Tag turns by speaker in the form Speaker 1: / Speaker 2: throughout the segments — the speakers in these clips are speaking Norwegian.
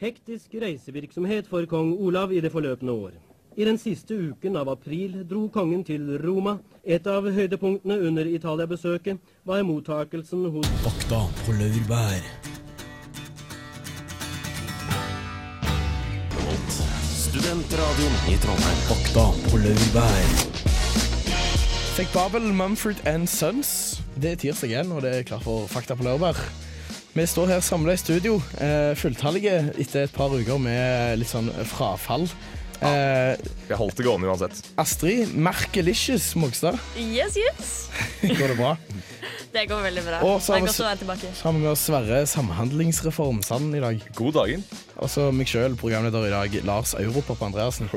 Speaker 1: Hektisk reisevirksomhet for kong Olav i det forløpne år. I den siste uken av april dro kongen til Roma. Et av høydepunktene under Italia-besøket var mottakelsen hos
Speaker 2: Fakta på laurbær.
Speaker 3: Studentradioen i Trondheim.
Speaker 2: Fakta på laurbær.
Speaker 4: Fikk Babel, Mumford and Sons. Det er tirsdag igjen, og det er klart for Fakta på laurbær. Vi står her samla i studio, eh, fulltallige etter et par uker med litt sånn frafall. Eh,
Speaker 5: Jeg holdt det gående uansett.
Speaker 4: Astrid Merkelicious Mogstad,
Speaker 6: Yes, yes.
Speaker 4: går det bra?
Speaker 6: Det går veldig bra.
Speaker 4: Og så har
Speaker 6: det
Speaker 4: vi
Speaker 6: er godt å være tilbake.
Speaker 4: Sammen med oss Sverre Samhandlingsreformsand i dag.
Speaker 5: God dagen.
Speaker 4: Og så meg sjøl, programleder i dag, Lars Europop Andreassen.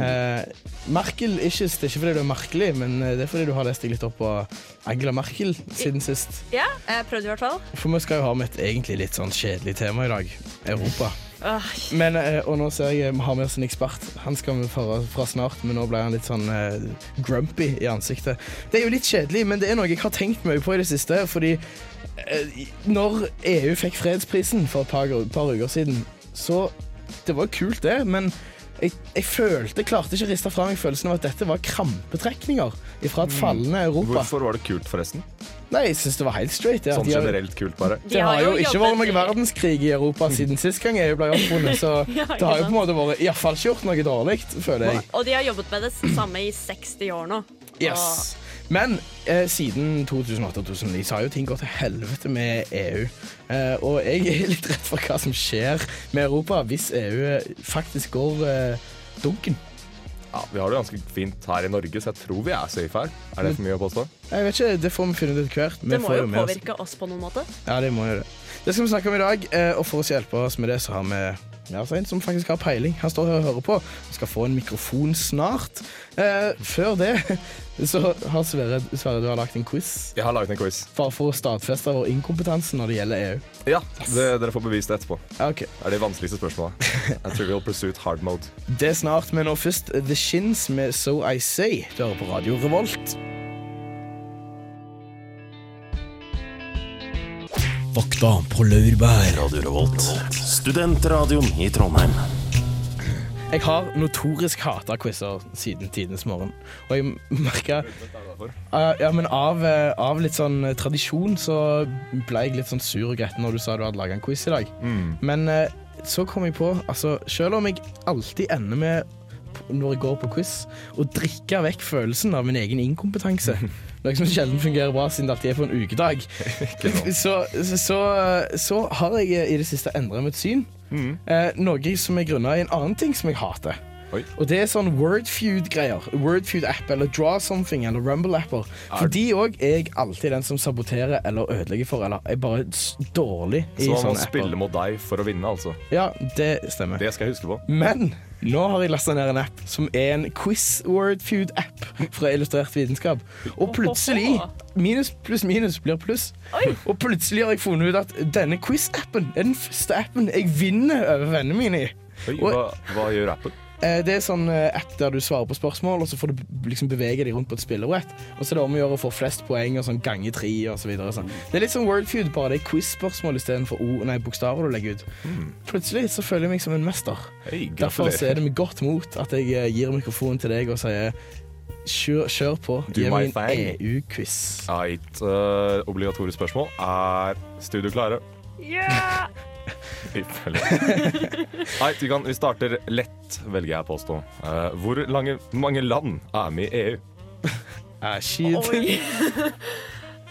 Speaker 4: Eh, Merkelicious, det er ikke fordi du er merkelig, men eh, det er fordi du har lest deg litt opp på Angela Merkel siden sist.
Speaker 6: Ja, jeg prøvde i hvert fall.
Speaker 4: For vi skal jo ha med et egentlig litt sånn kjedelig tema i dag. Europa.
Speaker 6: Åh,
Speaker 4: Men, eh, og nå ser jeg eh, vi har med oss en ekspert. Han skal vi fra, fra snart, men nå ble han litt sånn eh, grumpy i ansiktet. Det er jo litt kjedelig, men det er noe jeg har tenkt mye på i det siste. Fordi eh, når EU fikk fredsprisen for et par, par uker siden, så Det var kult, det, men jeg, jeg følte, jeg klarte ikke å riste fra meg følelsen av at dette var krampetrekninger fra et fallende Europa.
Speaker 5: Mm. Hvorfor var det kult, forresten?
Speaker 4: Nei, jeg syns det var helt straight. ja.
Speaker 5: Sånn
Speaker 4: De har-
Speaker 5: generelt kult, bare.
Speaker 6: de
Speaker 4: det har jo ikke vært
Speaker 6: jobbet
Speaker 4: noen
Speaker 6: i-
Speaker 4: verdenskrig i Europa siden sist gang EU ble oppfunnet, så
Speaker 6: Ja, ikke
Speaker 4: det har jo på
Speaker 6: sant.
Speaker 4: en måte vært iallfall ikke gjort noe dårlig, føler jeg.
Speaker 6: Og de har jobbet med det samme i 60 år nå.
Speaker 4: Yes. Men eh, siden 2008-2009 så har jo ting gått til helvete med EU. Eh, og jeg er litt redd for hva som skjer med Europa hvis EU eh, faktisk går eh, dunken.
Speaker 5: Ja, vi har det ganske fint her i Norge, så jeg tror vi er safe her. Er det for mye å påstå?
Speaker 4: Jeg vet ikke, Det får vi finne ut etter hvert. Vi
Speaker 6: Det må
Speaker 4: får
Speaker 6: jo
Speaker 4: med oss-
Speaker 6: påvirke oss på noen måte.
Speaker 4: Ja, det må jo det. Det skal vi snakke om i dag, eh, og for å hjelpe oss med det, så har vi ja, så en som faktisk har peiling. Han står her og hører på. Han skal få en mikrofon snart. Eh, før det så har Sverre, Sverre du har lagt en quiz.
Speaker 5: Jeg har laget en quiz.
Speaker 4: Bare for å stadfeste vår inkompetanse når det gjelder EU.
Speaker 5: Ja, det, Dere får bevist det etterpå.
Speaker 4: Ja, Ok,
Speaker 5: Det er de vanskeligste spørsmålene. En Trivial Pursuit Hard Mode.
Speaker 4: Det er snart, men nå først The Shins med So I Say. Du hører på Radio Revolt.
Speaker 2: Fakta på laurbær.
Speaker 3: Radio Revolt. Studentradioen i Trondheim.
Speaker 4: Jeg har notorisk hata quizer siden tidenes morgen, og jeg merka Eh, ja, men av, eh, av litt sånn eh, tradisjon så ble jeg litt sånn sur og gretten når du sa du hadde laga en quiz i dag. Men eh, så kom jeg på, altså selv om jeg alltid ender med, p- når jeg går på quiz, å drikke vekk følelsen av min egen inkompetanse. Noe som sjelden fungerer bra, siden det alltid er på en ukedag. så, så, så, så har jeg eh, i det siste endra mitt syn. Eh, noe som er grunna i en annen ting som jeg hater.
Speaker 5: Oi.
Speaker 4: Og det er sånn Wordfeud-greier. Wordfeud-app eller Draw Something eller Rumble-apper. For de òg er jeg alltid den som saboterer eller ødelegger for, eller er bare s- dårlig i
Speaker 5: Så man må
Speaker 4: sånne apper.
Speaker 5: spille mot deg for å vinne, altså.
Speaker 4: Ja, det stemmer.
Speaker 5: Det skal jeg huske på.
Speaker 4: Men nå har jeg lasta ned en app som er en quiz wordfeud-app fra Illustrert vitenskap. Og plutselig Minus pluss minus blir pluss. Og plutselig har jeg funnet ut at denne quiz-appen er den første appen jeg vinner over vennene mine i.
Speaker 5: Oi,
Speaker 4: Og-
Speaker 5: hva, hva gjør appen?
Speaker 4: Eh, Det er sånn eh, app der du svarer på spørsmål, og så får du b- liksom bevege deg rundt på et spillebrett. Og så er det om å gjøre å få flest poeng og sånn gange tre og så videre. og Sånn. Det er litt sånn Wordfeud, bare det er quiz-spørsmål istedenfor ord, nei, bokstaver du legger ut. Plutselig så føler jeg meg som en mester.
Speaker 5: Hei,
Speaker 4: Derfor så
Speaker 5: gratulerer.
Speaker 4: er det med godt mot at jeg eh, gir mikrofonen til deg og sier kjør, kjør på,
Speaker 5: Do
Speaker 4: gi
Speaker 5: my
Speaker 4: meg en E
Speaker 5: thing.
Speaker 4: EU-quiz.
Speaker 5: Eit eh, obligatorisk spørsmål er studio klare.
Speaker 6: Yeah!
Speaker 5: Nei, vi, kan, vi starter lett, velger jeg å påstå. Eh, hvor lange, mange land er med i E EU?
Speaker 4: Ah, shit.
Speaker 6: Oi.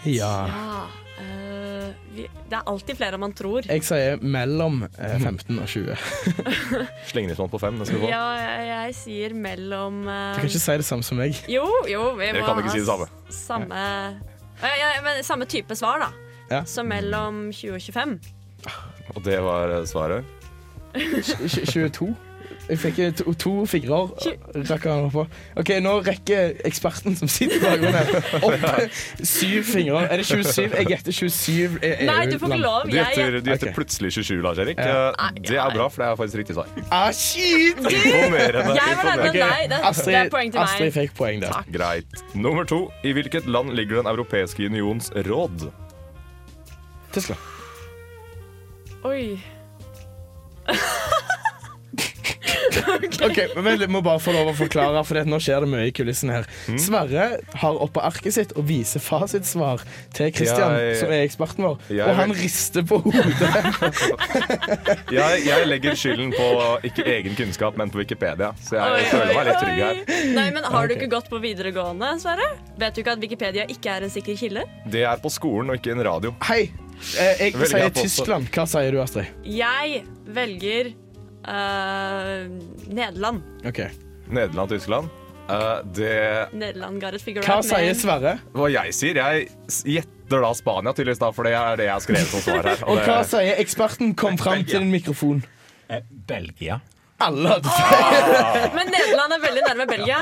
Speaker 4: Ja.
Speaker 6: Ah, eh, vi, det er alltid flere enn man tror.
Speaker 4: Jeg sier mellom eh, 15 og 20. Du
Speaker 5: Sleng litt sånn på fem. Det skal du få.
Speaker 6: Ja, jeg, jeg sier mellom eh,
Speaker 4: kan ikke si det samme som meg.
Speaker 6: Jo, jo, vi
Speaker 5: Dere
Speaker 6: må
Speaker 5: kan ikke si det
Speaker 6: ha
Speaker 5: samme.
Speaker 6: s- Samme ja, ja, men Samme type svar, da.
Speaker 4: Ja.
Speaker 6: Så mellom 20 og 25.
Speaker 5: Og det var eh, svaret.
Speaker 4: Tj- 22. Jeg fikk eh, to, to fingrer. eh, Rakk han opp på. OK, nå rekker eksperten som sitter bak meg, opp syv fingre. Er det 27? Jeg gjetter eh, E 27 er
Speaker 6: Nei, du får ikke
Speaker 4: EU-land.
Speaker 6: lov.
Speaker 5: Du
Speaker 6: Jeg,
Speaker 5: gjetter, du gjetter
Speaker 4: Ok.
Speaker 5: plutselig 27, Lars Erik.
Speaker 4: Ja.
Speaker 5: Eh, Det er bra, for det er faktisk riktig svar.
Speaker 4: Ah, shit!
Speaker 5: Imponerende.
Speaker 6: jeg var
Speaker 4: Ok,
Speaker 6: nærmere enn deg. Det, det er
Speaker 4: Astrid,
Speaker 6: poeng til
Speaker 4: Astrid
Speaker 6: meg.
Speaker 4: fikk poeng der.
Speaker 5: Greit. Nummer to. I hvilket land ligger Den europeiske unions råd?
Speaker 4: Tyskland.
Speaker 6: Oi.
Speaker 4: OK, men vent litt, må bare få lov å forklare, for det, at nå skjer det mye i kulissene her. Sverre har oppå arket sitt og viser fasitsvar til Christian,
Speaker 5: Jeg-
Speaker 4: som er eksperten vår,
Speaker 5: Jeg-
Speaker 4: og han rister på hodet.
Speaker 5: Jeg, jeg legger skylden på ikke egen kunnskap, men på Wikipedia. Så jeg,
Speaker 6: Oi,
Speaker 5: føler
Speaker 6: oi,
Speaker 5: meg litt trygg her.
Speaker 6: oi. Nei, men Har du
Speaker 4: Ok.
Speaker 6: ikke gått på videregående, Sverre? Vet du ikke at Wikipedia ikke er en sikker kilde?
Speaker 5: Det er på skolen og ikke en radio.
Speaker 4: Hei, eh, jeg
Speaker 5: Veldig
Speaker 4: sier
Speaker 5: godt også.
Speaker 4: Tyskland. Hva sier du, Astrid?
Speaker 6: Jeg velger eh, Nederland.
Speaker 4: Ok.
Speaker 5: Nederland, Tyskland. Eh, det
Speaker 6: Nederland ga et figure
Speaker 4: Hva
Speaker 6: out,
Speaker 4: sier
Speaker 6: men-
Speaker 4: Sverre?
Speaker 5: Hva jeg sier? Jeg s- gjetter da Spania, tydeligvis, da, for det er det jeg har skrevet som svar her.
Speaker 4: Og hva
Speaker 5: det,
Speaker 4: sier eksperten? Kom fram til en mikrofon.
Speaker 7: Eh, Belgia.
Speaker 4: Alle hadde feil.
Speaker 6: Men Nederland er veldig nærme Belgia.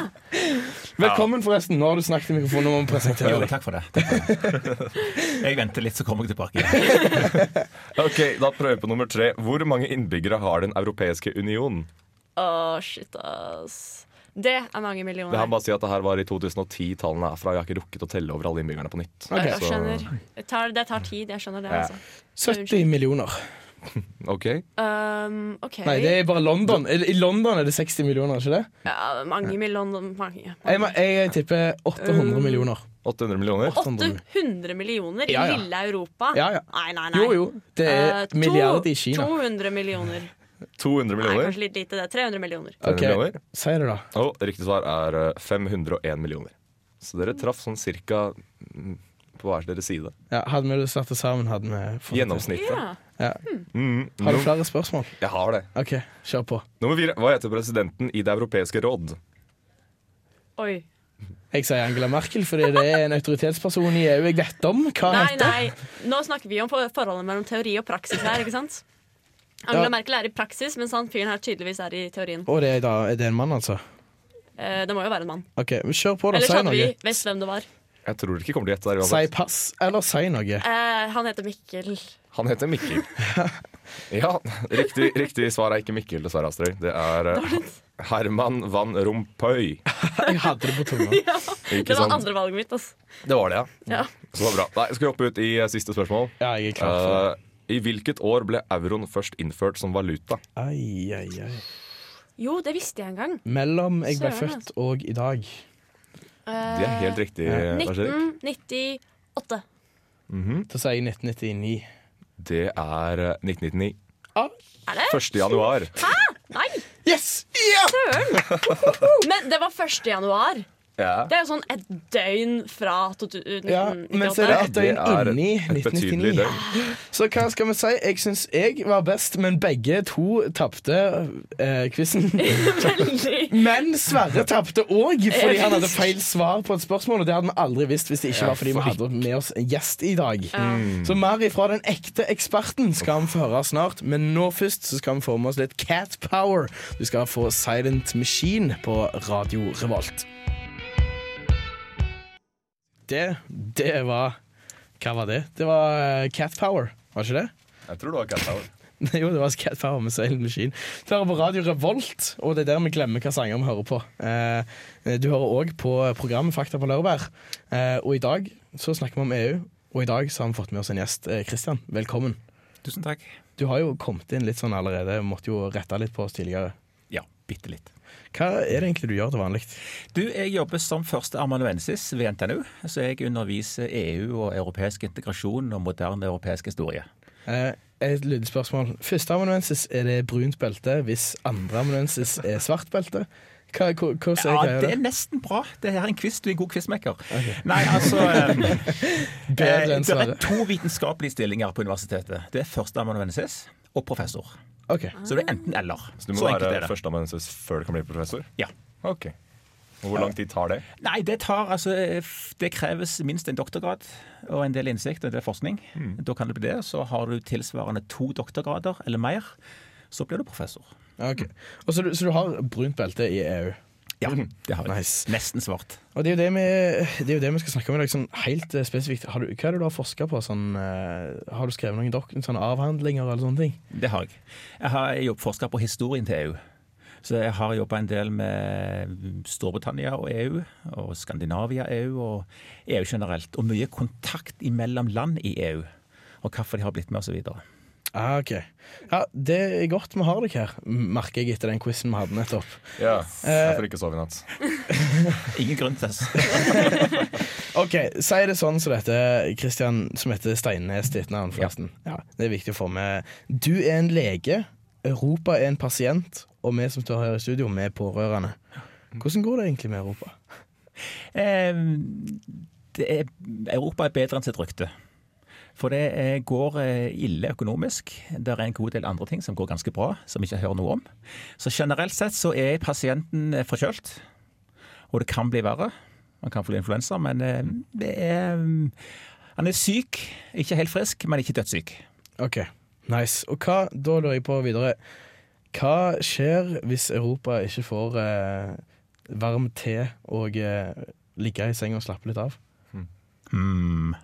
Speaker 4: Velkommen, forresten. Nå har du snakket i mikrofonen. Nå må vi presentere
Speaker 7: Jo,
Speaker 4: deg.
Speaker 7: takk for det. Takk for det. Jeg venter litt, så kommer jeg tilbake.
Speaker 5: ok, Da prøver vi på nummer tre. Hvor mange innbyggere har Den europeiske union?
Speaker 6: Å, shit, ass. Det er mange
Speaker 5: Det
Speaker 6: millioner.
Speaker 5: her bare å si at det her var i 2010. Tallene er fra. Jeg har ikke rukket å telle over alle innbyggerne på nytt.
Speaker 6: Oi, jeg
Speaker 5: Så-
Speaker 6: skjønner. Det tar, det tar tid, jeg skjønner det.
Speaker 5: Ja.
Speaker 6: altså.
Speaker 4: 70 millioner.
Speaker 5: Ok,
Speaker 6: Um, ok.
Speaker 4: Nei, det er bare London. I i London er det 60 millioner, ikke det?
Speaker 6: ja, mange millioner. Mange.
Speaker 4: Jeg, må- jeg tipper 800 millioner.
Speaker 5: 800 millioner.
Speaker 6: 800 millioner i
Speaker 4: Ja, ja.
Speaker 6: lille Europa?
Speaker 4: Ja, ja.
Speaker 6: Nei, nei, nei.
Speaker 4: Jo, jo. Det
Speaker 6: Eh,
Speaker 4: er
Speaker 6: to-
Speaker 4: milliard i Kina.
Speaker 6: 200 millioner.
Speaker 5: 200
Speaker 6: Nei,
Speaker 5: millioner.
Speaker 6: kanskje litt lite det. 300 millioner.
Speaker 4: Ok,
Speaker 5: 300 millioner.
Speaker 4: Si det, da.
Speaker 5: Og riktig svar er eh, 501 millioner. Så dere traff sånn cirka mm, på hver deres side.
Speaker 4: Ja, hadde vi satt det sammen, hadde vi fått det til.
Speaker 5: Gjennomsnittet.
Speaker 6: Ja.
Speaker 4: Ja.
Speaker 5: Mm,
Speaker 4: Har du
Speaker 5: num-
Speaker 4: flere spørsmål?
Speaker 5: jeg har det.
Speaker 4: OK, kjør på.
Speaker 5: Nummer fire. Hva heter presidenten i Det europeiske råd?
Speaker 6: Oi.
Speaker 4: Jeg sier Angela Merkel, fordi det er en autoritetsperson i EU jeg vet om. Hva
Speaker 6: Nei,
Speaker 4: heter
Speaker 6: nei. Nå snakker vi om for- forholdet mellom teori og praksis her, ikke sant? Angela
Speaker 4: Ja.
Speaker 6: Merkel er i praksis, mens han fyren her tydeligvis er i teorien.
Speaker 4: Å, det er, da, er det en mann, altså?
Speaker 6: Eh, det må jo være en mann.
Speaker 4: OK, men kjør på, da.
Speaker 6: Ellers
Speaker 4: Si
Speaker 6: hadde
Speaker 4: noe.
Speaker 6: vi visst hvem det var.
Speaker 5: Jeg tror dere ikke kommer til å gjette der
Speaker 4: Si
Speaker 5: uansett.
Speaker 4: pass, eller si noe.
Speaker 6: Eh, han heter Mikkel.
Speaker 5: Han heter Mikkel. Ja, riktig, riktig svar er ikke Mikkel, dessverre, Astrid. Det er eh, Herman Van Rompuy.
Speaker 4: Jeg hadde det på tunga.
Speaker 5: Ikke
Speaker 6: Det var
Speaker 5: sant?
Speaker 6: andrevalget mitt, altså.
Speaker 5: Det var det, ja.
Speaker 6: Ja.
Speaker 5: Så det var bra. Nei, skal vi hoppe ut i eh, siste spørsmål?
Speaker 4: Ja, jeg er klar for det.
Speaker 5: Eh, I hvilket år ble euroen først innført som valuta?
Speaker 4: Ai, ai, ai.
Speaker 6: Jo, det visste jeg en gang.
Speaker 4: Mellom jeg ble
Speaker 6: Søren, altså.
Speaker 4: født og i dag.
Speaker 5: Det
Speaker 6: Eh,
Speaker 5: er helt riktig. Lars Erik.
Speaker 6: 1998.
Speaker 4: Da sier jeg 1999.
Speaker 5: Det er eh, 1999.
Speaker 6: Er det?
Speaker 5: 1. januar.
Speaker 6: Nei!
Speaker 4: Yes!
Speaker 6: Men det var 1. januar.
Speaker 5: Ja.
Speaker 6: Det er jo sånn et døgn fra 2000
Speaker 4: Ja, men så er det
Speaker 5: Ja,
Speaker 4: ett
Speaker 5: det er
Speaker 4: døgn inni
Speaker 5: et
Speaker 4: 1999.
Speaker 5: betydelig døgn.
Speaker 4: Så hva skal vi si? Jeg syns jeg var best, men begge to tapte eh, quizen.
Speaker 6: Veldig.
Speaker 4: Men Sverre tapte òg, fordi han hadde feil svar på et spørsmål. Og det hadde vi aldri visst hvis det ikke var fordi vi hadde med oss en gjest i dag. Så mer ifra den ekte eksperten skal vi få høre snart, men nå først så skal vi få med oss litt Cat Power. Du skal få Silent Machine på Radio Revolt. Det, det var Hva var det? Det var eh, Cat Power, var ikke det?
Speaker 5: Jeg tror det var Cat Tower.
Speaker 4: Nei, Jo, det var Cat Power med Silent Machine. Du hører på Radio Revolt, og det er der vi glemmer hva sanger vi hører på. Eh, du hører òg på programmet Fakta på laurbær. Eh, og i dag så snakker vi om EU, og i dag så har vi fått med oss en gjest. Eh, Christian, velkommen.
Speaker 7: Tusen takk.
Speaker 4: Du har jo kommet inn litt sånn allerede, måtte jo rette litt på oss tidligere.
Speaker 7: Ja, bitte litt.
Speaker 4: Hva er det egentlig du gjør til vanlig?
Speaker 7: Du, jeg jobber som førsteamanuensis ved NTNU, så jeg underviser EU og europeisk integrasjon og moderne europeisk historie.
Speaker 4: Eh, et lydspørsmål. Førsteamanuensis, er det brunt belte hvis andreamanuensis er svart belte? Hva, hva, hva sier
Speaker 7: Ja,
Speaker 4: greia
Speaker 7: det
Speaker 4: der?
Speaker 7: er nesten bra. Det her er en quiz, du er en god quizmaker. Nei, altså eh,
Speaker 4: Bedre enn
Speaker 7: Det er
Speaker 4: Sverre.
Speaker 7: to vitenskapelige stillinger på universitetet. Det er førsteamanuensis og professor.
Speaker 4: Ok.
Speaker 7: Så det er enten-eller.
Speaker 5: Så du må
Speaker 7: Så enkelt er
Speaker 5: være
Speaker 7: det.
Speaker 5: førsteamanuensis før du kan bli professor?
Speaker 7: Ja.
Speaker 5: Ok. Og Hvor lang tid tar det?
Speaker 7: Nei, det tar altså f- Det kreves minst en doktorgrad og en del innsikt og en del forskning. Da kan det bli det. Så har du tilsvarende to doktorgrader eller mer, så blir du professor.
Speaker 4: Ok, og så, du, så du har brunt belte i EU.
Speaker 7: Ja, det har jeg.
Speaker 4: Nice.
Speaker 7: Mm. Nesten svart.
Speaker 4: Og det er jo det vi, det er jo det vi skal snakke om i dag. Sånn helt eh, spesifikt har du, Hva er det du har forska på? Sånn, eh, har du skrevet noen dok sånne avhandlinger eller sånne ting?
Speaker 7: Det har jeg. Jeg har jeg forska på historien til EU. Så jeg har jobba en del med Storbritannia og EU, og Skandinavia EU, og E EU generelt. Og mye kontakt imellom land i EU, og hvorfor de har blitt med, osv.
Speaker 4: Ah, ok. Ja, det er godt vi har dere her, merker jeg etter den quizen vi hadde nettopp.
Speaker 5: Ja, jeg får ikke sove i natt.
Speaker 7: Ingen grunn til det.
Speaker 4: Ok, Si det sånn som dette, Kristian, som heter Steinnes ditt navn, forresten. Ja. Det er viktig å få med. Du er en lege, Europa er en pasient, og vi som står her i studio, vi er pårørende. Hvordan går det egentlig med Europa?
Speaker 7: Eh, det er, Europa er bedre enn sitt rykte. For det eh, går eh, ille økonomisk. Det er en god del andre ting som går ganske bra, som vi ikke hører noe om. Så generelt sett så er pasienten eh, forkjølt. Og det kan bli verre. Man kan få influensa, men eh, det er mm, Han er syk, ikke helt frisk, men ikke dødssyk.
Speaker 4: Ok, nice. Og hva, da lurer jeg på videre Hva skjer hvis Europa ikke får eh, varm te og eh, ligge i seng og slappe litt av?
Speaker 7: Hmm.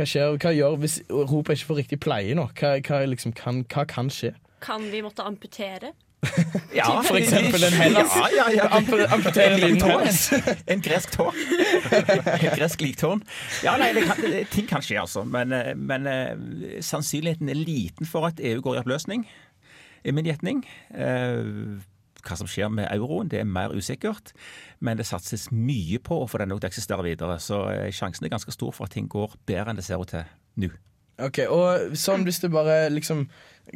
Speaker 4: Hva skjer, hva gjør hvis Europa ikke får riktig pleie nå? Hva, hva, liksom kan, hva kan skje?
Speaker 6: Kan vi måtte amputere?
Speaker 7: Ja,
Speaker 4: For eksempel en Hellas.
Speaker 7: Ja, ja, ja.
Speaker 4: Ampu- Amputere en liten
Speaker 7: Tårn.
Speaker 4: Hellas.
Speaker 7: En gresk tårn. En gresk liktårn. Ja, nei, det kan, det, ting kan skje, altså. Men, eh, men eh, sannsynligheten er liten for at EU går i oppløsning, er min gjetning. Eh, hva som skjer med euroen, det er mer usikkert. Men det satses mye på å få den til å eksistere videre. Så eh, sjansen er ganske stor for at ting går bedre enn det ser ut til nå.
Speaker 4: Ok, og sånn hvis du bare liksom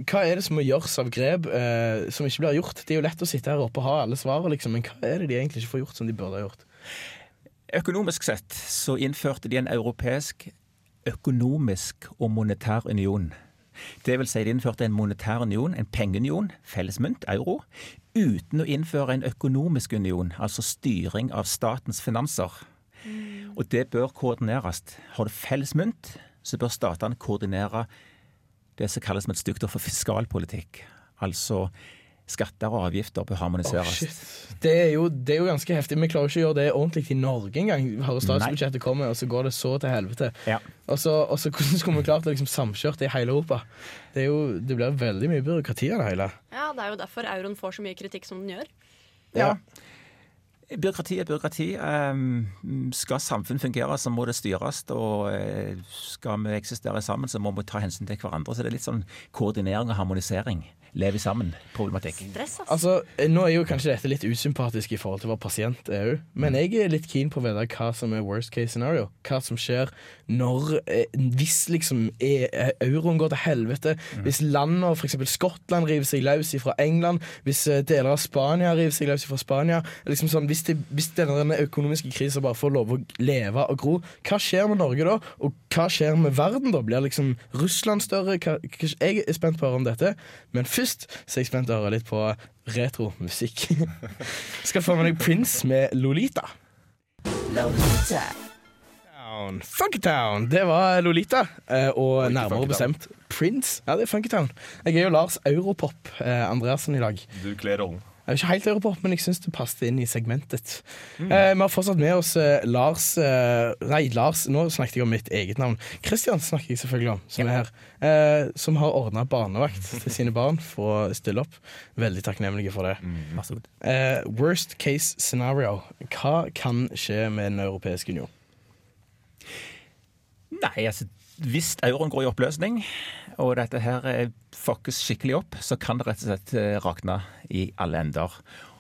Speaker 4: Hva er det som må gjøres av grep eh, som ikke blir gjort? Det er jo lett å sitte her oppe og ha alle svarene, liksom, men hva er det de egentlig ikke får gjort som de burde ha gjort?
Speaker 7: Økonomisk sett så innførte de en europeisk økonomisk og monetær union. Det vil si de innførte en monetær union, en pengeunion, fellesmynt, euro, uten å innføre en økonomisk union, altså styring av statens finanser. Og det bør koordineres. Har du felles mynt, så bør statene koordinere det som kalles med et stygt ord for fiskalpolitikk. Altså skatter og avgifter bør harmoniseres.
Speaker 4: Det er, jo, det er jo ganske heftig. Vi klarer ikke å gjøre det ordentlig i Norge engang. Vi Hører statsbudsjettet komme, og så går det så til helvete.
Speaker 7: Ja.
Speaker 4: Og så, og så hvordan skulle vi klart å liksom samkjøre det i hele Europa? Det, er jo, det blir veldig mye byråkrati av det hele.
Speaker 6: Ja, det er jo derfor euroen får så mye kritikk som den gjør.
Speaker 7: Ja. Eh, Byråkrati er byråkrati. Ehm, Skal samfunn fungere, så må det styres. Og eh, skal vi eksistere sammen, så må vi ta hensyn til hverandre. Så det er litt sånn koordinering og harmonisering. Leve sammen-problematikk.
Speaker 6: Dress, ass.
Speaker 4: Altså, Nå er jo kanskje dette litt usympatisk i forhold til å være pasient, er jo. men jeg er litt keen på å vite hva som er worst case scenario. Hva som skjer når eh, Hvis liksom e- e- euroen går til helvete, hvis landene, f.eks. Skottland, river seg løs fra England, hvis eh, deler av Spania river seg løs fra Spania liksom sånn, Hvis, det, hvis denne økonomiske krisen bare får lov å leve og gro, hva skjer med Norge da? Og hva skjer med verden da? Blir liksom Russland større? Hva, hva, jeg er spent på å høre om dette, men først så er jeg spent på å høre litt på retromusikk. Skal få med deg Prince med Lolita. Funkytown. Funkytown, det var Lolita. eh, Og nærmere bestemt Prince. Ja, det er Funkytown. Jeg er jo Lars Europop eh, Andreassen i dag.
Speaker 5: Du kler rollen.
Speaker 4: Jeg er ikke helt europop, men jeg syns det passet inn i segmentet.
Speaker 7: Mm.
Speaker 4: Eh, vi har fortsatt med oss eh, Lars eh, Nei, Lars, nå snakket jeg om mitt eget navn. Kristian snakker jeg selvfølgelig om, som er her. Eh, som har ordna barnevakt til sine barn for å stille opp. Veldig takknemlige for det.
Speaker 7: Mm, Vær så god.
Speaker 4: Eh, worst case scenario. Hva kan skje med Den europeiske union?
Speaker 7: Nei, altså hvis euroen går i oppløsning, og dette her eh, fuckes skikkelig opp, så kan det rett og slett eh, rakne i alle ender.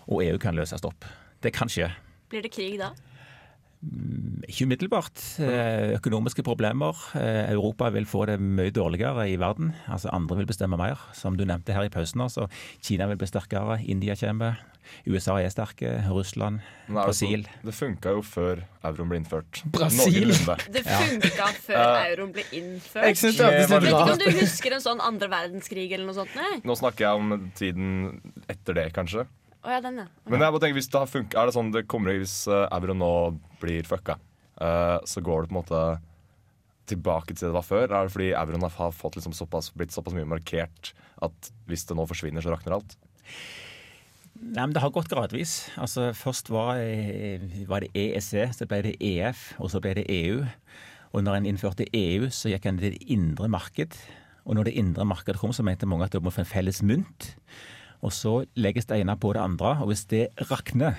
Speaker 7: Og EU kan løses opp. Det kan skje.
Speaker 6: Blir det krig da?
Speaker 7: Ikke umiddelbart. Eh, Økonomiske problemer. Eh, Europa vil få det mye dårligere i verden. Altså Andre vil bestemme mer, som du nevnte her i pausen. Altså, Kina vil bli sterkere, India kommer, USA er sterke, Russland,
Speaker 5: Men er det så-
Speaker 7: Brasil.
Speaker 5: Det funka jo før euroen ble innført.
Speaker 4: Brasil?
Speaker 5: Noenlunde.
Speaker 6: Det funka før euroen ble innført.
Speaker 4: Jeg synes det hørtes
Speaker 5: Det var
Speaker 4: litt
Speaker 6: Vet ikke
Speaker 4: rart
Speaker 6: om du husker en sånn andre verdenskrig eller noe sånt? Nei?
Speaker 5: Nå snakker jeg om tiden etter det, kanskje.
Speaker 6: Å ja, den, ja.
Speaker 5: Men jeg bare tenker, hvis det har funka, er det sånn det kommer hvis eh, euroen nå blir fucka, eh, så går det på en måte tilbake til det det var før? Er det fordi euroen har- har fått liksom såpass, blitt såpass mye markert at hvis det nå forsvinner, så rakner alt?
Speaker 7: Nei, men Det har gått gradvis. Altså, Først var, eh, var det EEC, så ble det EF, og så ble det EU. Og når en innførte EU, så gikk en til det indre marked. Og når det indre markedet kom, så mente mange at det må få en felles mynt. Og så legges det ene på det andre, og hvis det rakner,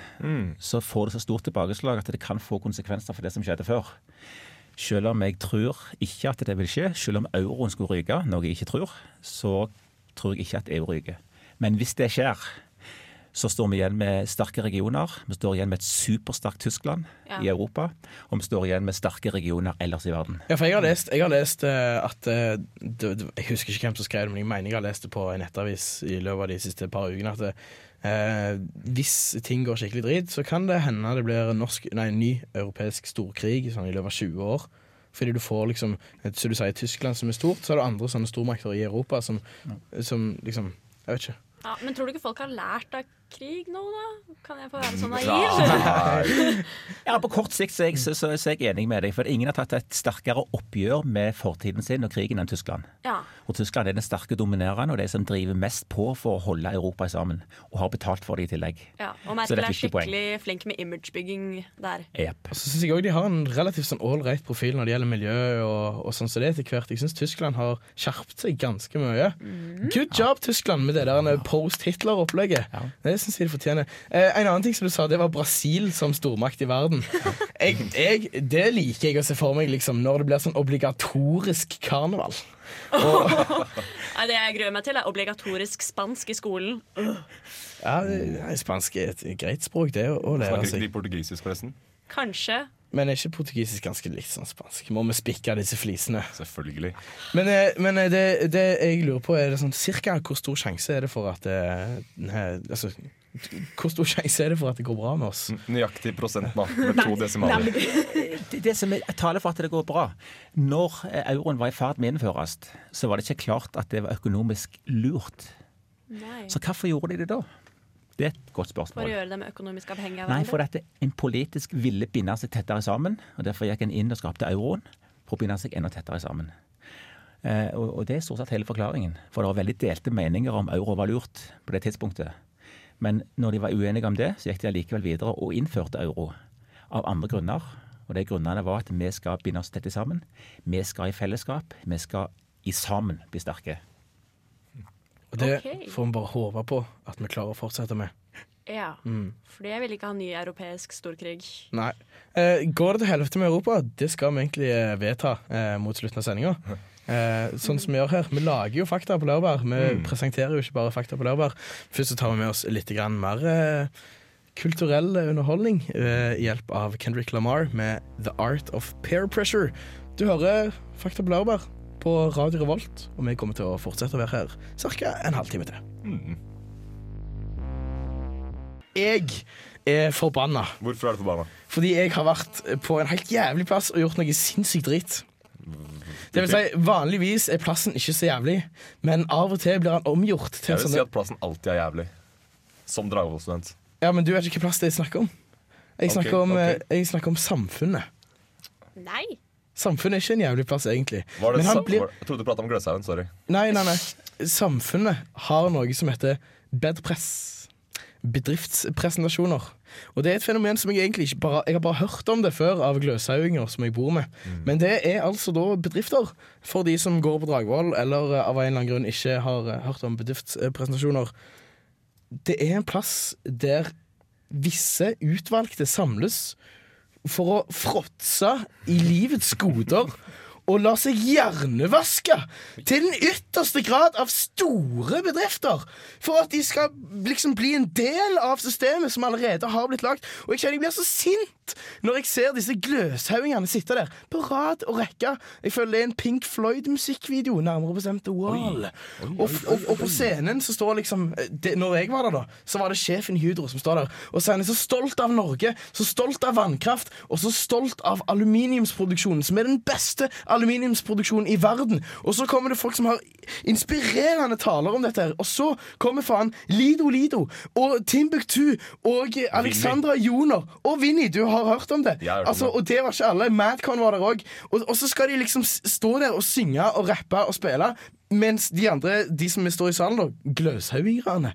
Speaker 7: så får det så stort tilbakeslag at det kan få konsekvenser for det som skjedde før. Selv om jeg tror ikke at det vil skje, selv om euroen skulle ryke, noe jeg ikke tror, så tror jeg ikke at EU ryker. Men hvis det skjer, så står vi igjen med sterke regioner. Vi står igjen med et supersterkt Tyskland
Speaker 6: Ja.
Speaker 7: i Europa. Og vi står igjen med sterke regioner ellers i verden.
Speaker 4: Ja, for jeg har lest, jeg har lest eh, at eh, det, det, Jeg husker ikke hvem som skrev det, men jeg mener jeg har lest det på en nettavis i løpet av de siste par ukene. At eh, hvis ting går skikkelig drit, så kan det hende det blir en norsk, nei, en ny europeisk storkrig sånn, i løpet av 20 år. Fordi du får liksom, så du sier Tyskland som er stort, så er det andre sånne stormakter i Europa som, som liksom Jeg vet ikke.
Speaker 6: Ja, men tror du ikke folk har lært av krig nå, da? Kan jeg få være så naiv?
Speaker 5: Nei.
Speaker 7: Ja, På kort sikt så er jeg, så, så er jeg enig med deg. For ingen har tatt et sterkere oppgjør med fortiden sin og krigen enn Tyskland.
Speaker 6: Ja.
Speaker 7: Og Tyskland er den sterke dominerende og de som driver mest på for å holde Europa sammen. Og har betalt for det i tillegg.
Speaker 6: ja. Og Merkel
Speaker 7: Så det er
Speaker 6: er
Speaker 7: ikke poeng.
Speaker 6: skikkelig flink med imagebygging der.
Speaker 7: Jep.
Speaker 4: Og så synes jeg også de har en relativt sånn ålreit profil når det gjelder miljø og, og sånn som det er etter hvert. Jeg synes Tyskland har skjerpet seg ganske mye. Good job, Tyskland, med det der post-Hitler-opplegget.
Speaker 7: Ja.
Speaker 4: Det synes jeg de fortjener. Eh, en annen ting som du sa, det var Brasil som stormakt i verden. Jeg, jeg, det liker jeg å se for meg liksom, når det blir sånn obligatorisk karneval.
Speaker 6: Nei, det jeg gruer meg til, er obligatorisk spansk i skolen.
Speaker 4: Ja, det- nei, Spansk er et greit språk, det å å lære
Speaker 5: Snakker ikke
Speaker 4: seg.
Speaker 5: de portugisisk, forresten?
Speaker 6: Kanskje.
Speaker 4: Men er ikke portugisisk ganske likt sånn spansk? Må vi spikke disse flisene?
Speaker 5: Selvfølgelig.
Speaker 4: Men, eh, men eh, det, det jeg lurer på, er det sånn cirka hvor stor sjanse er det for at eh, nei, altså, Hvor stor sjanse er det for at det går bra med
Speaker 5: Mm.
Speaker 4: oss?
Speaker 5: Nøyaktig prosent, da. Med to desimaler.
Speaker 7: Det, det som er taler for at det går bra Når eh, euroen var i ferd med å innføres, så var det ikke klart at det var økonomisk lurt.
Speaker 6: Nei.
Speaker 7: Så hvorfor gjorde de det da? Det er et godt
Speaker 6: For å
Speaker 7: spørsmål.
Speaker 6: gjøre dem økonomisk avhengige av
Speaker 7: Nei, for
Speaker 6: hverandre.
Speaker 7: dette, En politisk ville binde seg tettere sammen, og derfor gikk en inn og skapte euroen for å binde seg enda tettere sammen. Eh, og, og Det er stort sett hele forklaringen. For det var veldig delte meninger om euro var lurt på det tidspunktet. Men når de var uenige om det, så gikk de allikevel videre og innførte euro. Av andre grunner. Og de grunnene var at vi skal binde oss tett sammen. Vi skal i fellesskap. Vi skal i sammen bli sterke.
Speaker 4: Og det
Speaker 6: Ok.
Speaker 4: får vi bare håpe på at vi klarer å fortsette med.
Speaker 6: Ja. Fordi jeg vil ikke ha ny europeisk storkrig.
Speaker 4: Nei. Eh, går det til helvete med Europa? Det skal vi egentlig eh, vedta eh, mot slutten av sendinga. Eh, sånn som vi gjør her. Vi lager jo fakta på laurbær. Vi presenterer jo ikke bare fakta på laurbær. Først så tar vi med oss litt grann mer eh, kulturell underholdning ved hjelp av Kendrick Lamar med The Art of Peer Pressure. Du hører Fakta på laurbær på Radio Revolt, og vi kommer til å fortsette å være her ca. en halvtime til. Jeg er forbanna.
Speaker 5: Hvorfor er du forbanna?
Speaker 4: Fordi jeg har vært på en helt jævlig plass og gjort noe sinnssykt drit. Det vil si, vanligvis er plassen ikke så jævlig, men av og til blir han omgjort til
Speaker 5: Jeg
Speaker 4: en
Speaker 5: vil
Speaker 4: sånn
Speaker 5: si at plassen alltid er jævlig. Som Dragvoll-student.
Speaker 4: Ja, men du vet ikke hva plass det er jeg snakker om. Jeg snakker,
Speaker 5: Ok,
Speaker 4: om
Speaker 5: ok.
Speaker 4: eh, jeg snakker om samfunnet.
Speaker 6: Nei!
Speaker 4: Samfunnet er ikke en jævlig plass, egentlig.
Speaker 5: Var det
Speaker 4: Men han
Speaker 5: sa-
Speaker 4: blir-
Speaker 5: var, jeg trodde du prata om Gløshaugen. Sorry.
Speaker 4: Nei, nei, nei. Samfunnet har noe som heter bedpress. Bedriftspresentasjoner. Og det er et fenomen som jeg egentlig ikke bare Jeg har bare hørt om det før av gløshauginger som jeg bor med. Men det er altså da bedrifter for de som går på Dragvoll eller eh, av en eller annen grunn ikke har eh, hørt om bedriftspresentasjoner. Det er en plass der visse utvalgte samles for å fråtse i livets goder og la seg hjernevaske til den ytterste grad av store bedrifter. For at de skal liksom bli en del av systemet som allerede har blitt lagt. Og jeg kjenner jeg blir så sint når jeg ser disse gløshaugene sitte der på rad og rekke. Jeg føler det er en Pink Floyd-musikkvideo, nærmere bestemt The Wall. Og, og, og på scenen så står liksom det, Når jeg var der, da, så var det sjefen i Hydro som står der. Og så er han så stolt av Norge, så stolt av vannkraft, og så stolt av aluminiumsproduksjonen, som er den beste aluminiumsproduksjonen i verden. Og så kommer det folk som har inspirerende taler om dette her. Og så kommer faen Lido Lido og Timbuktu og Alexandra Joner og Vinni. Du har hørt om det.
Speaker 5: Jeg har hørt om
Speaker 4: altså,
Speaker 5: det.
Speaker 4: og det var ikke alle. Madcon var der òg. Og, og så skal de liksom s- stå der og synge og rappe og spille. Mens de andre, de som står i salen, da, gløshaugingerne,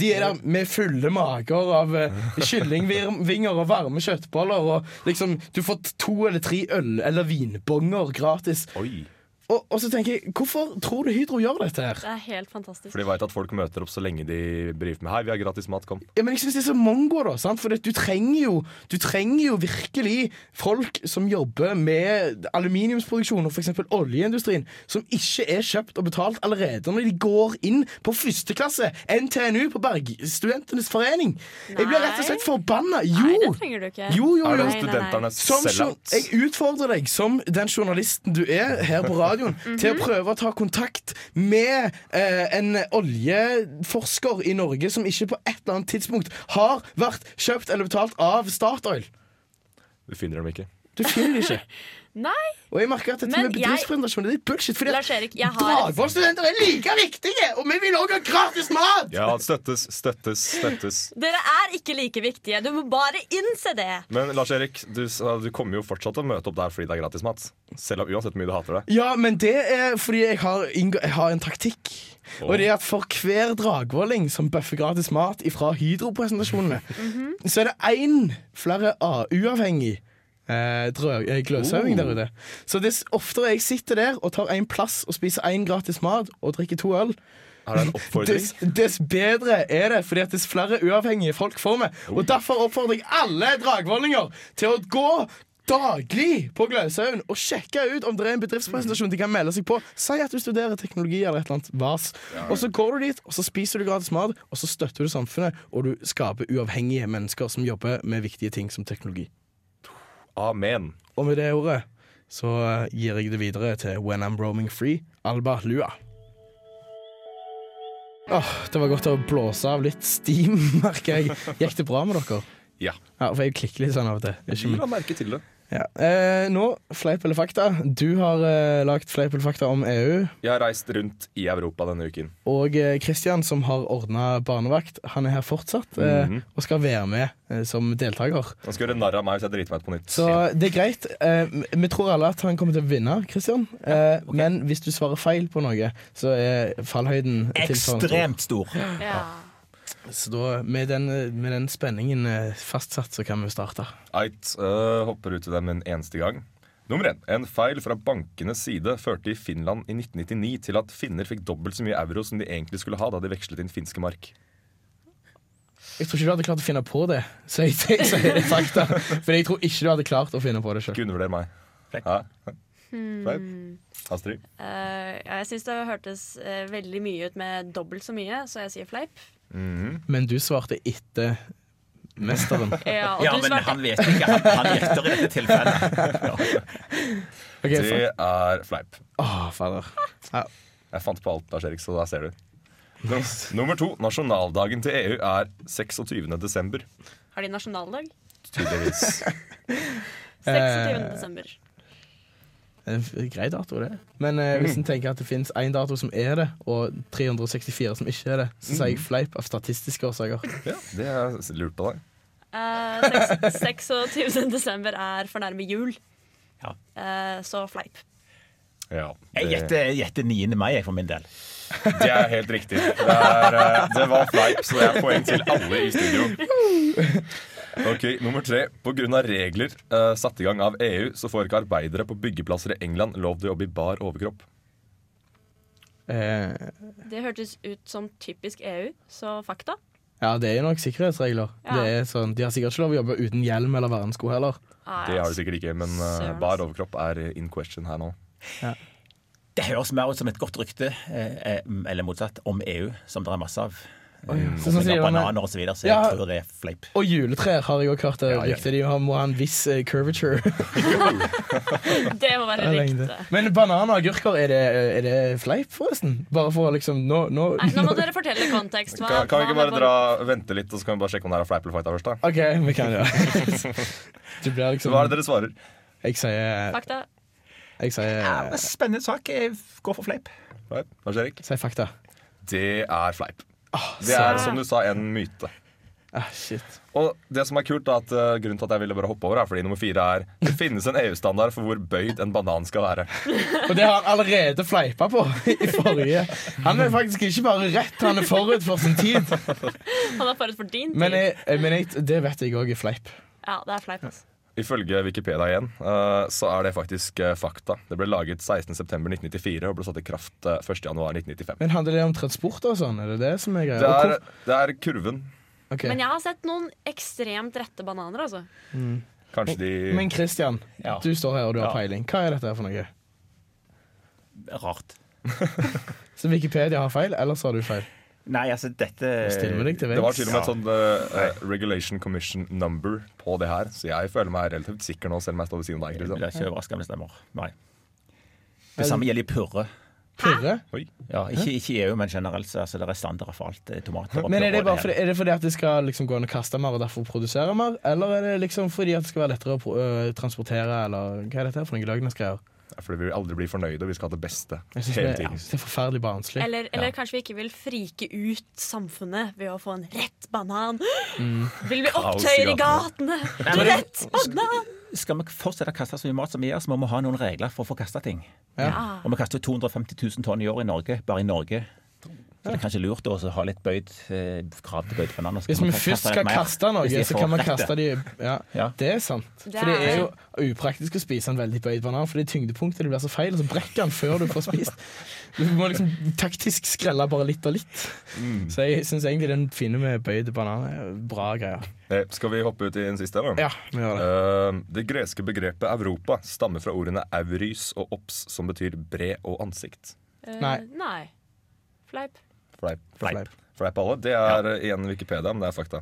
Speaker 4: de er der med fulle mager av eh, kyllingvinger og varme kjøttboller. Og liksom, du får t- to eller tre øl- eller vinbonger gratis.
Speaker 5: Oi.
Speaker 4: Og, og så tenker jeg, hvorfor tror du Hydro gjør dette her?
Speaker 6: Det er helt fantastisk.
Speaker 5: For de veit at folk møter opp så lenge de brifer med 'Hei, vi har gratis mat, kom'.
Speaker 4: Ja, men jeg synes det er så mongo, da. Sant? For det- du trenger, jo, du trenger jo virkelig folk som jobber med aluminiumsproduksjon og f.eks. oljeindustrien, som ikke er kjøpt og betalt allerede når de går inn på første klasse NTNU på Bergstudentenes forening. Jeg blir rett og slett forbanna. Jo!
Speaker 6: Nei, det trenger du ikke.
Speaker 4: Jo, jo,
Speaker 5: Er
Speaker 4: jo.
Speaker 5: det
Speaker 6: nei, nei.
Speaker 5: studenternes
Speaker 4: Som jour-
Speaker 5: sellout?
Speaker 4: jeg utfordrer deg som den journalisten du er her på radioen,
Speaker 6: Mhm.
Speaker 4: til å prøve å ta kontakt med eh, en oljeforsker i Norge som ikke på et eller annet tidspunkt har vært kjøpt eller betalt av Statoil.
Speaker 5: Du finner dem ikke.
Speaker 4: Du finner det ikke.
Speaker 6: Nei,
Speaker 4: Og jeg merker at dette
Speaker 6: Men
Speaker 4: med
Speaker 6: jeg-
Speaker 4: bedriftspresentasjon det er bullshit. Fordi
Speaker 6: Lars Erik, jeg har et-
Speaker 4: Dragvoll-studenter er like viktige, og vi vil òg ha gratis mat!
Speaker 5: Ja, støttes, støttes, støttes.
Speaker 6: dere er ikke like viktige. Du må bare innse det.
Speaker 5: Men Lars-Erik, du, sa- du kommer jo fortsatt til å møte opp der fordi det er gratis mat. Selv om uansett hvor mye du hater det.
Speaker 4: Ja, men det er fordi jeg har, inngå- jeg har en taktikk. Og det er at for hver dragvolling som bøffer gratis mat fra Hydro-presentasjonene, så er det én flere A- uavhengig eh, drø- eh, gløshauging der ute. Så dess oftere jeg sitter der og tar én plass og spiser én gratis mat og drikker to øl,
Speaker 5: Er det en oppfordring?
Speaker 4: dess, dess bedre er det, fordi at dess flere uavhengige folk får vi. Og derfor oppfordrer jeg alle dragvollinger til å gå daglig på Gløshaugen og sjekke ut om det er en bedriftspresentasjon de kan melde seg på. Si at du studerer teknologi eller et eller annet vas. Og så går du dit, og så spiser du gratis mat, og så støtter du samfunnet, og du skaper uavhengige mennesker som jobber med viktige ting som teknologi.
Speaker 5: Amen.
Speaker 4: Og med det ordet så eh, gir jeg det videre til When I'm Roaming Free, Alba Lua. Åh, Det var godt å blåse av litt steam, merker jeg. Gikk det bra med dere?
Speaker 5: Ja.
Speaker 4: Ja, for jeg klikker litt sånn av og til. Det er ikke-
Speaker 5: la merke til det.
Speaker 4: Ja. Eh, nå, fleip eller fakta. Du har eh, lagd fleip eller fakta om EU.
Speaker 5: Jeg har reist rundt i Europa denne uken.
Speaker 4: Og eh, Christian, som har ordna barnevakt, han er her fortsatt eh, og skal være med eh, som deltaker.
Speaker 5: Han skal gjøre narr av meg hvis jeg driter meg ut på nytt.
Speaker 4: Så det er greit. Eh, vi tror alle at han kommer til å vinne, Christian. Eh, Men hvis du svarer feil på noe, så er fallhøyden tilsvarende stor.
Speaker 7: Ekstremt stor.
Speaker 6: Ja.
Speaker 4: Så da, med den, med den spenningen eh, fastsatt, så kan vi starte.
Speaker 5: Eit øh, hopper ut i dem en eneste gang. Nummer én. En feil fra bankenes side førte i Finland i 1999 til at finner fikk dobbelt så mye euro som de egentlig skulle ha da de vekslet inn finske mark.
Speaker 4: Jeg tror ikke du hadde klart å finne på det, så jeg sier så er det fakta. For jeg tror ikke du hadde klart å finne på det sjøl.
Speaker 5: Ikke undervurder meg.
Speaker 7: Fleip.
Speaker 5: Hæ? Fleip? Astrid?
Speaker 6: Eh, ja, jeg syns det hørtes eh, veldig mye ut med dobbelt så mye, så jeg sier fleip.
Speaker 4: Men du svarte etter mesteren.
Speaker 6: Ja, og
Speaker 7: Ja,
Speaker 6: du
Speaker 7: men
Speaker 6: svarte
Speaker 7: han vet ikke. Han, han gjetter i dette tilfellet.
Speaker 4: Ok,
Speaker 5: Det
Speaker 4: fa-
Speaker 5: er fleip.
Speaker 4: Åh, fader. Ja.
Speaker 5: Jeg fant på alt, Lars Erik, så der ser du. Num- Nummer to. Nasjonaldagen til EU er 26. desember.
Speaker 6: Har de nasjonaldag?
Speaker 5: Tydeligvis.
Speaker 6: 26. desember.
Speaker 4: Det er en Grei dato, det. Men eh, hvis en tenker at det fins én dato som er det, og 364 som ikke er det, så sier jeg fleip av statistiske årsaker.
Speaker 5: Ja, det er lurt av deg.
Speaker 6: Eh, seks- 26. desember er for nærme jul,
Speaker 7: Ja.
Speaker 6: Eh, så fleip.
Speaker 5: Ja,
Speaker 7: Jeg
Speaker 5: det,
Speaker 7: gjetter jeg gjetter 9. mai, jeg, for min del.
Speaker 5: det er helt riktig. Det, er, eh, det var fleip, så det er poeng til alle i studio. Ok, Nummer tre. Pga. regler eh, satt i gang av EU, så får ikke arbeidere på byggeplasser i England lov til å jobbe i bar overkropp.
Speaker 4: Eh,
Speaker 6: Det hørtes ut som typisk EU, så fakta.
Speaker 4: ja, det er jo nok sikkerhetsregler.
Speaker 6: Ja.
Speaker 4: Det er sånn, de har sikkert ikke lov å jobbe uten hjelm eller vernesko heller.
Speaker 6: Ah,
Speaker 5: Det
Speaker 6: ja.
Speaker 5: har de sikkert ikke, men eh, bar overkropp er in question her nå.
Speaker 7: Det høres mer ut som et godt rykte, eh, eh, eller motsatt, om EU, som det er masse av. Mm.
Speaker 4: Så sier man-
Speaker 7: bananer og så, videre, så
Speaker 4: Ja.
Speaker 7: jeg tror det er fleip.
Speaker 4: Og juletrær har jeg også hørt det
Speaker 5: Ja, ja.
Speaker 4: ryktet. De har- må ha en viss eh, curvature.
Speaker 6: Det må være
Speaker 4: Lengde.
Speaker 6: riktig.
Speaker 4: Men bananer og agurker, er det, er det fleip, forresten? Bare for å liksom nå, nå,
Speaker 6: Nei, nå må dere fortelle kontekst. Hva,
Speaker 5: Kan, kan vi ikke bare
Speaker 6: hva med
Speaker 5: dra, vente litt, og så kan vi bare sjekke om det her er fleip eller fakta først? da?
Speaker 4: OK, vi kan gjøre det. Det blir
Speaker 5: Så
Speaker 4: liksom
Speaker 5: hva er det dere svarer?
Speaker 4: Jeg sier,
Speaker 6: Fakta.
Speaker 4: jeg sier,
Speaker 7: Ja, men spennende sak. Jeg går for fleip.
Speaker 5: Fleip? Lars Erik? Ah,
Speaker 4: sier fakta.
Speaker 5: Det er fleip. Det er som du sa, en myte.
Speaker 4: Ah, shit.
Speaker 5: Og det som er kult er at eh, grunnen til at jeg ville bare hoppe over, er fordi nummer fire er det finnes en EU-standard for hvor bøyd en banan skal være.
Speaker 4: Og det har han allerede fleipa på i forrige. Han er faktisk ikke bare rett, han er forut for sin tid.
Speaker 6: Han er forut for din tid.
Speaker 4: Men, jeg, men jeg, det vet jeg òg er fleip.
Speaker 6: Ja, det er fleip. Altså.
Speaker 5: Ifølge Wikipedia igjen, eh, så er det faktisk eh, fakta. Det ble laget 16.9.1994 og ble satt i kraft eh, 1.1.1995.
Speaker 4: Men handler det om transport og sånn? Er det det som er
Speaker 5: Det
Speaker 4: greia?
Speaker 5: er, det er kurven.
Speaker 4: Og hvor- ok.
Speaker 6: Men jeg har sett noen ekstremt rette bananer, altså.
Speaker 5: Kanskje de
Speaker 4: Men Christian,
Speaker 7: Ja.
Speaker 4: du står her og du har
Speaker 7: Ja.
Speaker 4: peiling. Hva er dette her for noe?
Speaker 7: Rart.
Speaker 4: Så Wikipedia har feil, eller så har du feil?
Speaker 7: Nei, altså, dette
Speaker 4: Stille med deg til
Speaker 5: Det var
Speaker 4: veggs.
Speaker 5: til og med et sånn eh, eh, regulation commission number på det her, så jeg føler meg relativt sikker nå, selv om jeg står ved siden av deg.
Speaker 7: Jeg blir
Speaker 5: Kristian.
Speaker 7: ikke overraska om det stemmer. Nei. Det samme gjelder i purre.
Speaker 4: Purre?
Speaker 7: Ja, ikke, ikke i EU, men generelt. så- Altså, det er standarder for alt. eh, Tomater og
Speaker 4: Men er
Speaker 7: purre
Speaker 4: det,
Speaker 7: og
Speaker 4: bare
Speaker 7: her.
Speaker 4: fordi, er det fordi at det skal liksom gå an å kaste mer og derfor produsere mer? Eller er det liksom fordi at det skal være lettere å pro- øh, transportere, eller hva er dette her for noen løgnesgreier?
Speaker 5: Ja, Fordi vi vil aldri bli fornøyde, og vi skal ha det beste
Speaker 4: Jeg synes
Speaker 5: hele
Speaker 4: det,
Speaker 5: tiden.
Speaker 4: det er forferdelig barnslig.
Speaker 6: Eller, eller kanskje vi ikke vil frike ut samfunnet ved å få en rett banan.
Speaker 5: Mm.
Speaker 6: Vil vi opptøyer i gatene? Rett banan!
Speaker 7: Skal vi fortsette å kaste så mye mat som vi gjør, så må vi ha noen regler for å få kaste ting.
Speaker 6: Ja.
Speaker 7: Og vi kaster 250 000 tonn i år i Norge, bare i Norge. Så det er kanskje lurt å også ha litt bøyd eh, krav til bøyd banan.
Speaker 4: Hvis vi først skal kaste noe, så kan man kaste de ja,
Speaker 7: Ja.
Speaker 4: Det er sant.
Speaker 6: Det
Speaker 4: For det er
Speaker 6: er-
Speaker 4: jo upraktisk å spise en veldig bøyd banan, fordi tyngdepunktet det blir så feil, og så brekker den før du får spist. Du må liksom taktisk skrelle bare litt og litt. Så jeg syns egentlig den fine med bøyd banan er bra greier.
Speaker 5: Eh, Skal vi hoppe ut i den siste, eller?
Speaker 4: Ja, vi gjør det.
Speaker 5: Eh, det greske begrepet Europa stammer fra ordene aurys og ops, som betyr bre og ansikt.
Speaker 6: Eh,
Speaker 4: Nei.
Speaker 6: nei. Fleip.
Speaker 5: Fleip.
Speaker 4: Fleip.
Speaker 5: Fleip alle. Det er eh, igjen Wikipedia, men det er fakta.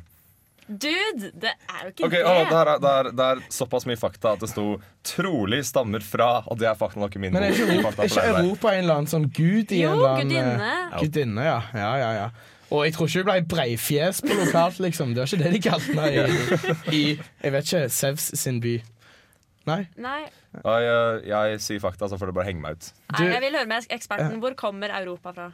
Speaker 6: Dude, det er jo ikke
Speaker 5: Ok,
Speaker 6: det.
Speaker 5: å, det, er, det, er, det er såpass mye fakta at det sto 'trolig stammer fra', og det er fakta nok i min
Speaker 4: Men er
Speaker 5: bok.
Speaker 4: ikke,
Speaker 5: Fakta
Speaker 4: Europa, er
Speaker 5: for
Speaker 4: ikke
Speaker 5: deg der.
Speaker 4: Europa en eller annen sånn gud i en
Speaker 6: Jo,
Speaker 4: eller annen
Speaker 6: gudinne.
Speaker 4: eh, Gudinne, ja. ja, ja, ja. Og jeg tror ikke det ble breifjes på lokalt, liksom. Det var ikke det de kalte meg i, i jeg vet ikke, Sevs sin by. Nei.
Speaker 6: Nei,
Speaker 5: Nei, eh, jeg sier fakta, så får det bare henge meg ut.
Speaker 6: nei, jeg vil høre med eksperten. Hvor kommer Europa fra?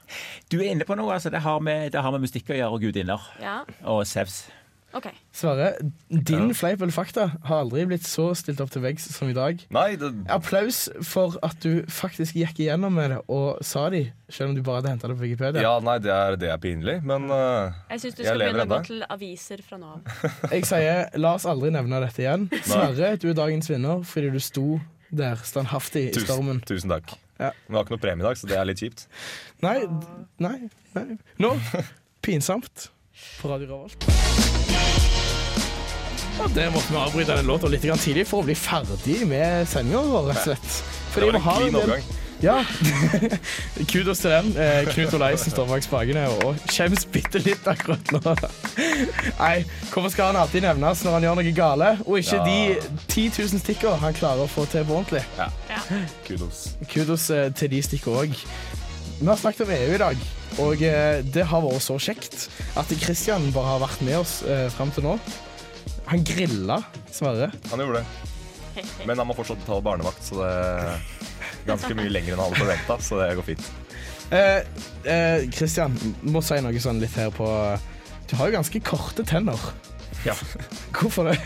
Speaker 7: Du er inne på noe. altså Det har med, det har med mystikk å gjøre, og gudinner.
Speaker 6: Ja,
Speaker 7: Og sevs.
Speaker 6: ok.
Speaker 4: Sverre, din fleip eller fakta har aldri blitt så stilt opp til veggs som i dag.
Speaker 5: Nei, det,
Speaker 4: Applaus for at du faktisk gikk igjennom med det og sa de, selv om du bare hadde henta det på Wikipedia.
Speaker 5: ja, nei, det, er, det er pinlig, men
Speaker 4: Mm.
Speaker 5: eh,
Speaker 6: Jeg syns du
Speaker 5: Jeg
Speaker 6: skal
Speaker 5: lever
Speaker 6: begynne å gå
Speaker 5: ennå.
Speaker 6: til aviser fra nå av.
Speaker 4: Jeg sier la oss aldri nevne dette igjen. Sverre, du er dagens vinner fordi du sto der standhaftig i stormen.
Speaker 5: tusen, tusen takk.
Speaker 4: Ja.
Speaker 5: Men Vi har ikke noe premie i dag, så det er litt kjipt.
Speaker 4: Nei, d- nei, nei. Nå, pinsomt på Radio Revolt. Og der måtte vi avbryte den låta litt grann tidlig for å bli ferdig med sendinga vår, rett og slett. Fordi
Speaker 5: Det
Speaker 4: vi
Speaker 5: var
Speaker 4: har
Speaker 5: en
Speaker 4: en
Speaker 5: clean
Speaker 4: del
Speaker 5: overgang.
Speaker 4: ja. Kudos til den. Eh, Knut Olai som står bak spakene og skjems bitte litt akkurat nå. Nei, hvorfor skal han alltid nevnes når han gjør noe gale, og ikke
Speaker 5: Ja.
Speaker 4: de 10 000 stikka han klarer å få til på ordentlig?
Speaker 5: Kudos.
Speaker 4: Kudos eh, til de stikker òg. Vi har snakket om EU i dag, og eh, det har vært så kjekt at Christian bare har vært med oss eh, fram til nå. Han grilla Sverre.
Speaker 5: Han gjorde det. Men han må fortsatt betale barnevakt, så det er ganske mye lenger enn han hadde forventa. Så det går fint.
Speaker 4: Eh, eh, Christian, m- må si noe sånn litt her på Du har jo ganske korte tenner.
Speaker 7: Ja.
Speaker 4: Hvorfor det?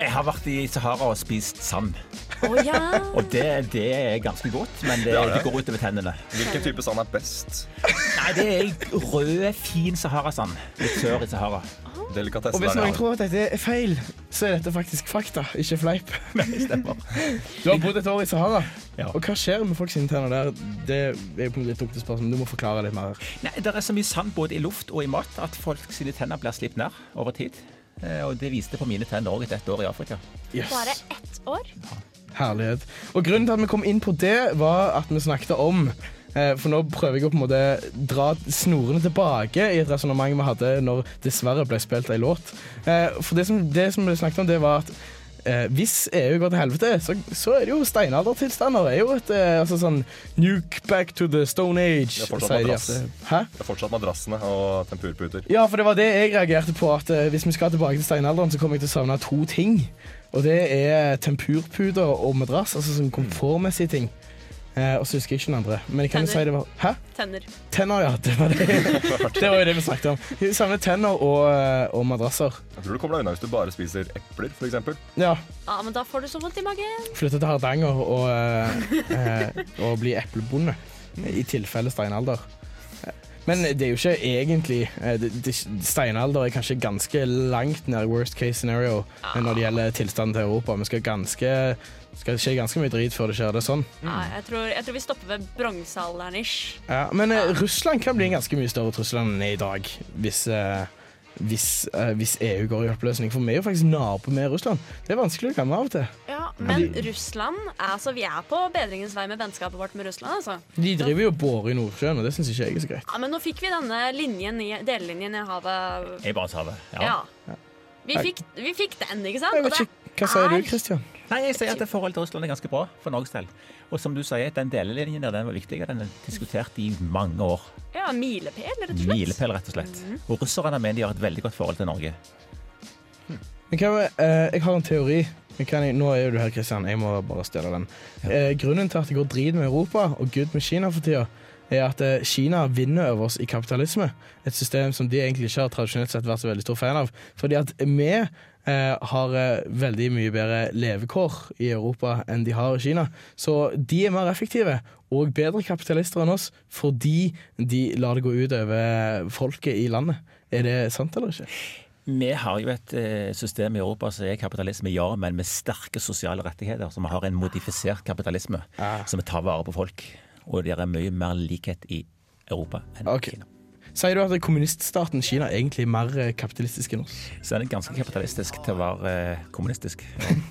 Speaker 7: Jeg har vært i Sahara og spist sand.
Speaker 6: Å ja.
Speaker 7: Og det, det er ganske godt, men det,
Speaker 5: Ja, det.
Speaker 7: det går utover tennene.
Speaker 5: Hvilken type sand er best?
Speaker 7: Nei, det er rød, fin saharasand. Litt sør i Sahara.
Speaker 4: Og
Speaker 5: Delikatessen
Speaker 4: hvis
Speaker 5: der,
Speaker 4: noen
Speaker 5: ja.
Speaker 4: tror at dette er feil, så er dette faktisk fakta, ikke fleip.
Speaker 7: Stemmer.
Speaker 4: Du har bodd et år i Sahara,
Speaker 7: Ja.
Speaker 4: og hva skjer med folk sine tenner der? Det er jo på en måte litt dumt å spørre, men du må forklare litt mer.
Speaker 7: Nei, Det er så mye sand både i luft og i mat at folk sine tenner blir slipt ned over tid. Eh, Og det viste på mine tenner òg etter ett år i Afrika.
Speaker 4: Yes.
Speaker 6: Bare ett år?
Speaker 4: Herlighet. Og grunnen til at vi kom inn på det, var at vi snakket om eh, For nå prøver jeg å på en måte dra snorene tilbake i et resonnement vi hadde når dessverre ble spilt ei låt. Eh, For det som, det som vi snakket om, det var at eh, hvis EU går til helvete, så, så er det jo steinaldertilstander. Det er jo et eh, altså sånn Nuke back to the stone age.
Speaker 5: Det er fortsatt
Speaker 4: sier de
Speaker 5: madrass.
Speaker 4: at- Hæ?
Speaker 5: Det er fortsatt madrassene og tempurputer.
Speaker 4: Ja, for det var det jeg reagerte på. At eh, hvis vi skal tilbake til steinalderen, så kommer jeg til å savne to ting. Og det er tempurpuder og madrass, altså sånn komfortmessige ting. Eh, og så husker jeg ikke den andre. Men jeg kan jo si
Speaker 6: Tenner.
Speaker 4: det var Hæ?
Speaker 6: Tenner.
Speaker 4: Tenner, ja. Det var det, det, var jo det vi snakket om. Vi savner tenner og, eh, og madrasser.
Speaker 5: Jeg tror du kommer deg unna hvis du bare spiser epler, f.eks.
Speaker 4: Ja.
Speaker 6: Ja, men da får du så vondt i magen.
Speaker 4: Flytte til Hardanger og, eh, eh, og bli eplebonde. I tilfelle steinalder. Men det er jo ikke egentlig eh, det, det, Steinalder er kanskje ganske langt ned i worst case scenario eh, når det gjelder tilstanden til Europa. Vi skal ganske skal skje ganske mye drit før det skjer. det er sånn.
Speaker 5: Mm.
Speaker 6: Nei, jeg tror, jeg tror vi stopper ved bronsealderen-ish.
Speaker 4: Ja, men eh, Russland kan bli en ganske mye større trussel enn den er i dag, hvis, eh, hvis, eh, hvis EU går i oppløsning. For vi er jo faktisk nabo med Russland. Det er vanskelig å glemme av og til.
Speaker 6: Ja, men Russland altså, Vi er på bedringens vei med vennskapet vårt med Russland. Altså.
Speaker 4: De driver jo og borer i Nordsjøen, og det syns ikke jeg er så greit.
Speaker 6: Ja, Men nå fikk vi denne linjen i, delelinjen i havet.
Speaker 7: Jeg bare tar det. Ja.
Speaker 6: Ja. Vi fikk, vi fikk den, ikke sant?
Speaker 4: Jeg
Speaker 6: Og
Speaker 4: vet
Speaker 6: det
Speaker 4: ikke, Hva sier du,
Speaker 6: er-
Speaker 4: Christian?
Speaker 7: Nei, jeg sier at det forholdet til Russland er ganske bra for Norges del. Og som du sier, den delelinjen der, den var viktig. og Den er diskutert i mange år.
Speaker 6: Ja, milepæl, rett og slett.
Speaker 7: Milepæl, rett og slett. Og russerne mener de har et veldig godt forhold til Norge.
Speaker 4: Men hva, med- eh, jeg har en teori. Men Kan jeg, nå er jo du her, Kristian. Jeg må bare stjele den. Eh, grunnen til at det går drit med Europa og good med Kina for tida, er at eh, Kina vinner over oss i kapitalisme. Et system som de egentlig ikke har tradisjonelt sett vært så veldig stor fan av. Fordi at vi eh, har eh, veldig mye bedre levekår i Europa enn de har i Kina. Så de er mer effektive og bedre kapitalister enn oss fordi de lar det gå ut over folket i landet. Er det sant eller ikke?
Speaker 7: Vi har jo et eh, system i Europa som er kapitalisme, ja, men med sterke sosiale rettigheter. Så vi har en modifisert kapitalisme, så vi tar vare på folk. Og det er mye mer likhet i Europa enn
Speaker 4: Ok.
Speaker 7: Kina.
Speaker 4: Sier du at kommuniststaten Kina egentlig er mer eh, kapitalistisk enn oss?
Speaker 7: Så den er ganske kapitalistisk til å være eh, kommunistisk.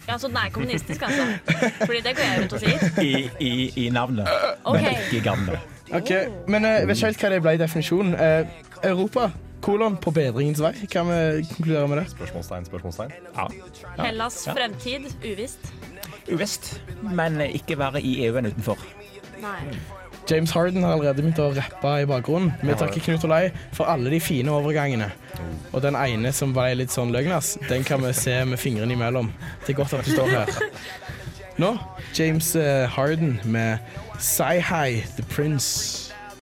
Speaker 6: Ja, så den er kommunistisk, altså. Fordi det går jeg rundt og sier.
Speaker 7: I, i, i navnet,
Speaker 6: Ok.
Speaker 7: men ikke i gamle.
Speaker 4: Ok, Men eh, jeg vet ikke helt hva det ble i definisjonen. Eh, Europa, kolon, på bedringens vei. Kan vi konkludere med det?
Speaker 5: Spørsmålstegn, spørsmålstegn.
Speaker 7: Ja.
Speaker 6: Hellas
Speaker 7: Ja.
Speaker 6: fremtid uvisst.
Speaker 7: Uvisst, men ikke verre i EU enn utenfor.
Speaker 6: Nei.
Speaker 4: James Harden har allerede begynt å rappe i bakgrunnen. Vi takker Knut Olai for alle de fine overgangene. Og den ene som var litt sånn løgnas, den kan vi se med fingrene imellom. Det er godt at du står her. Nå, James eh, Harden med Say Hi, The Prince.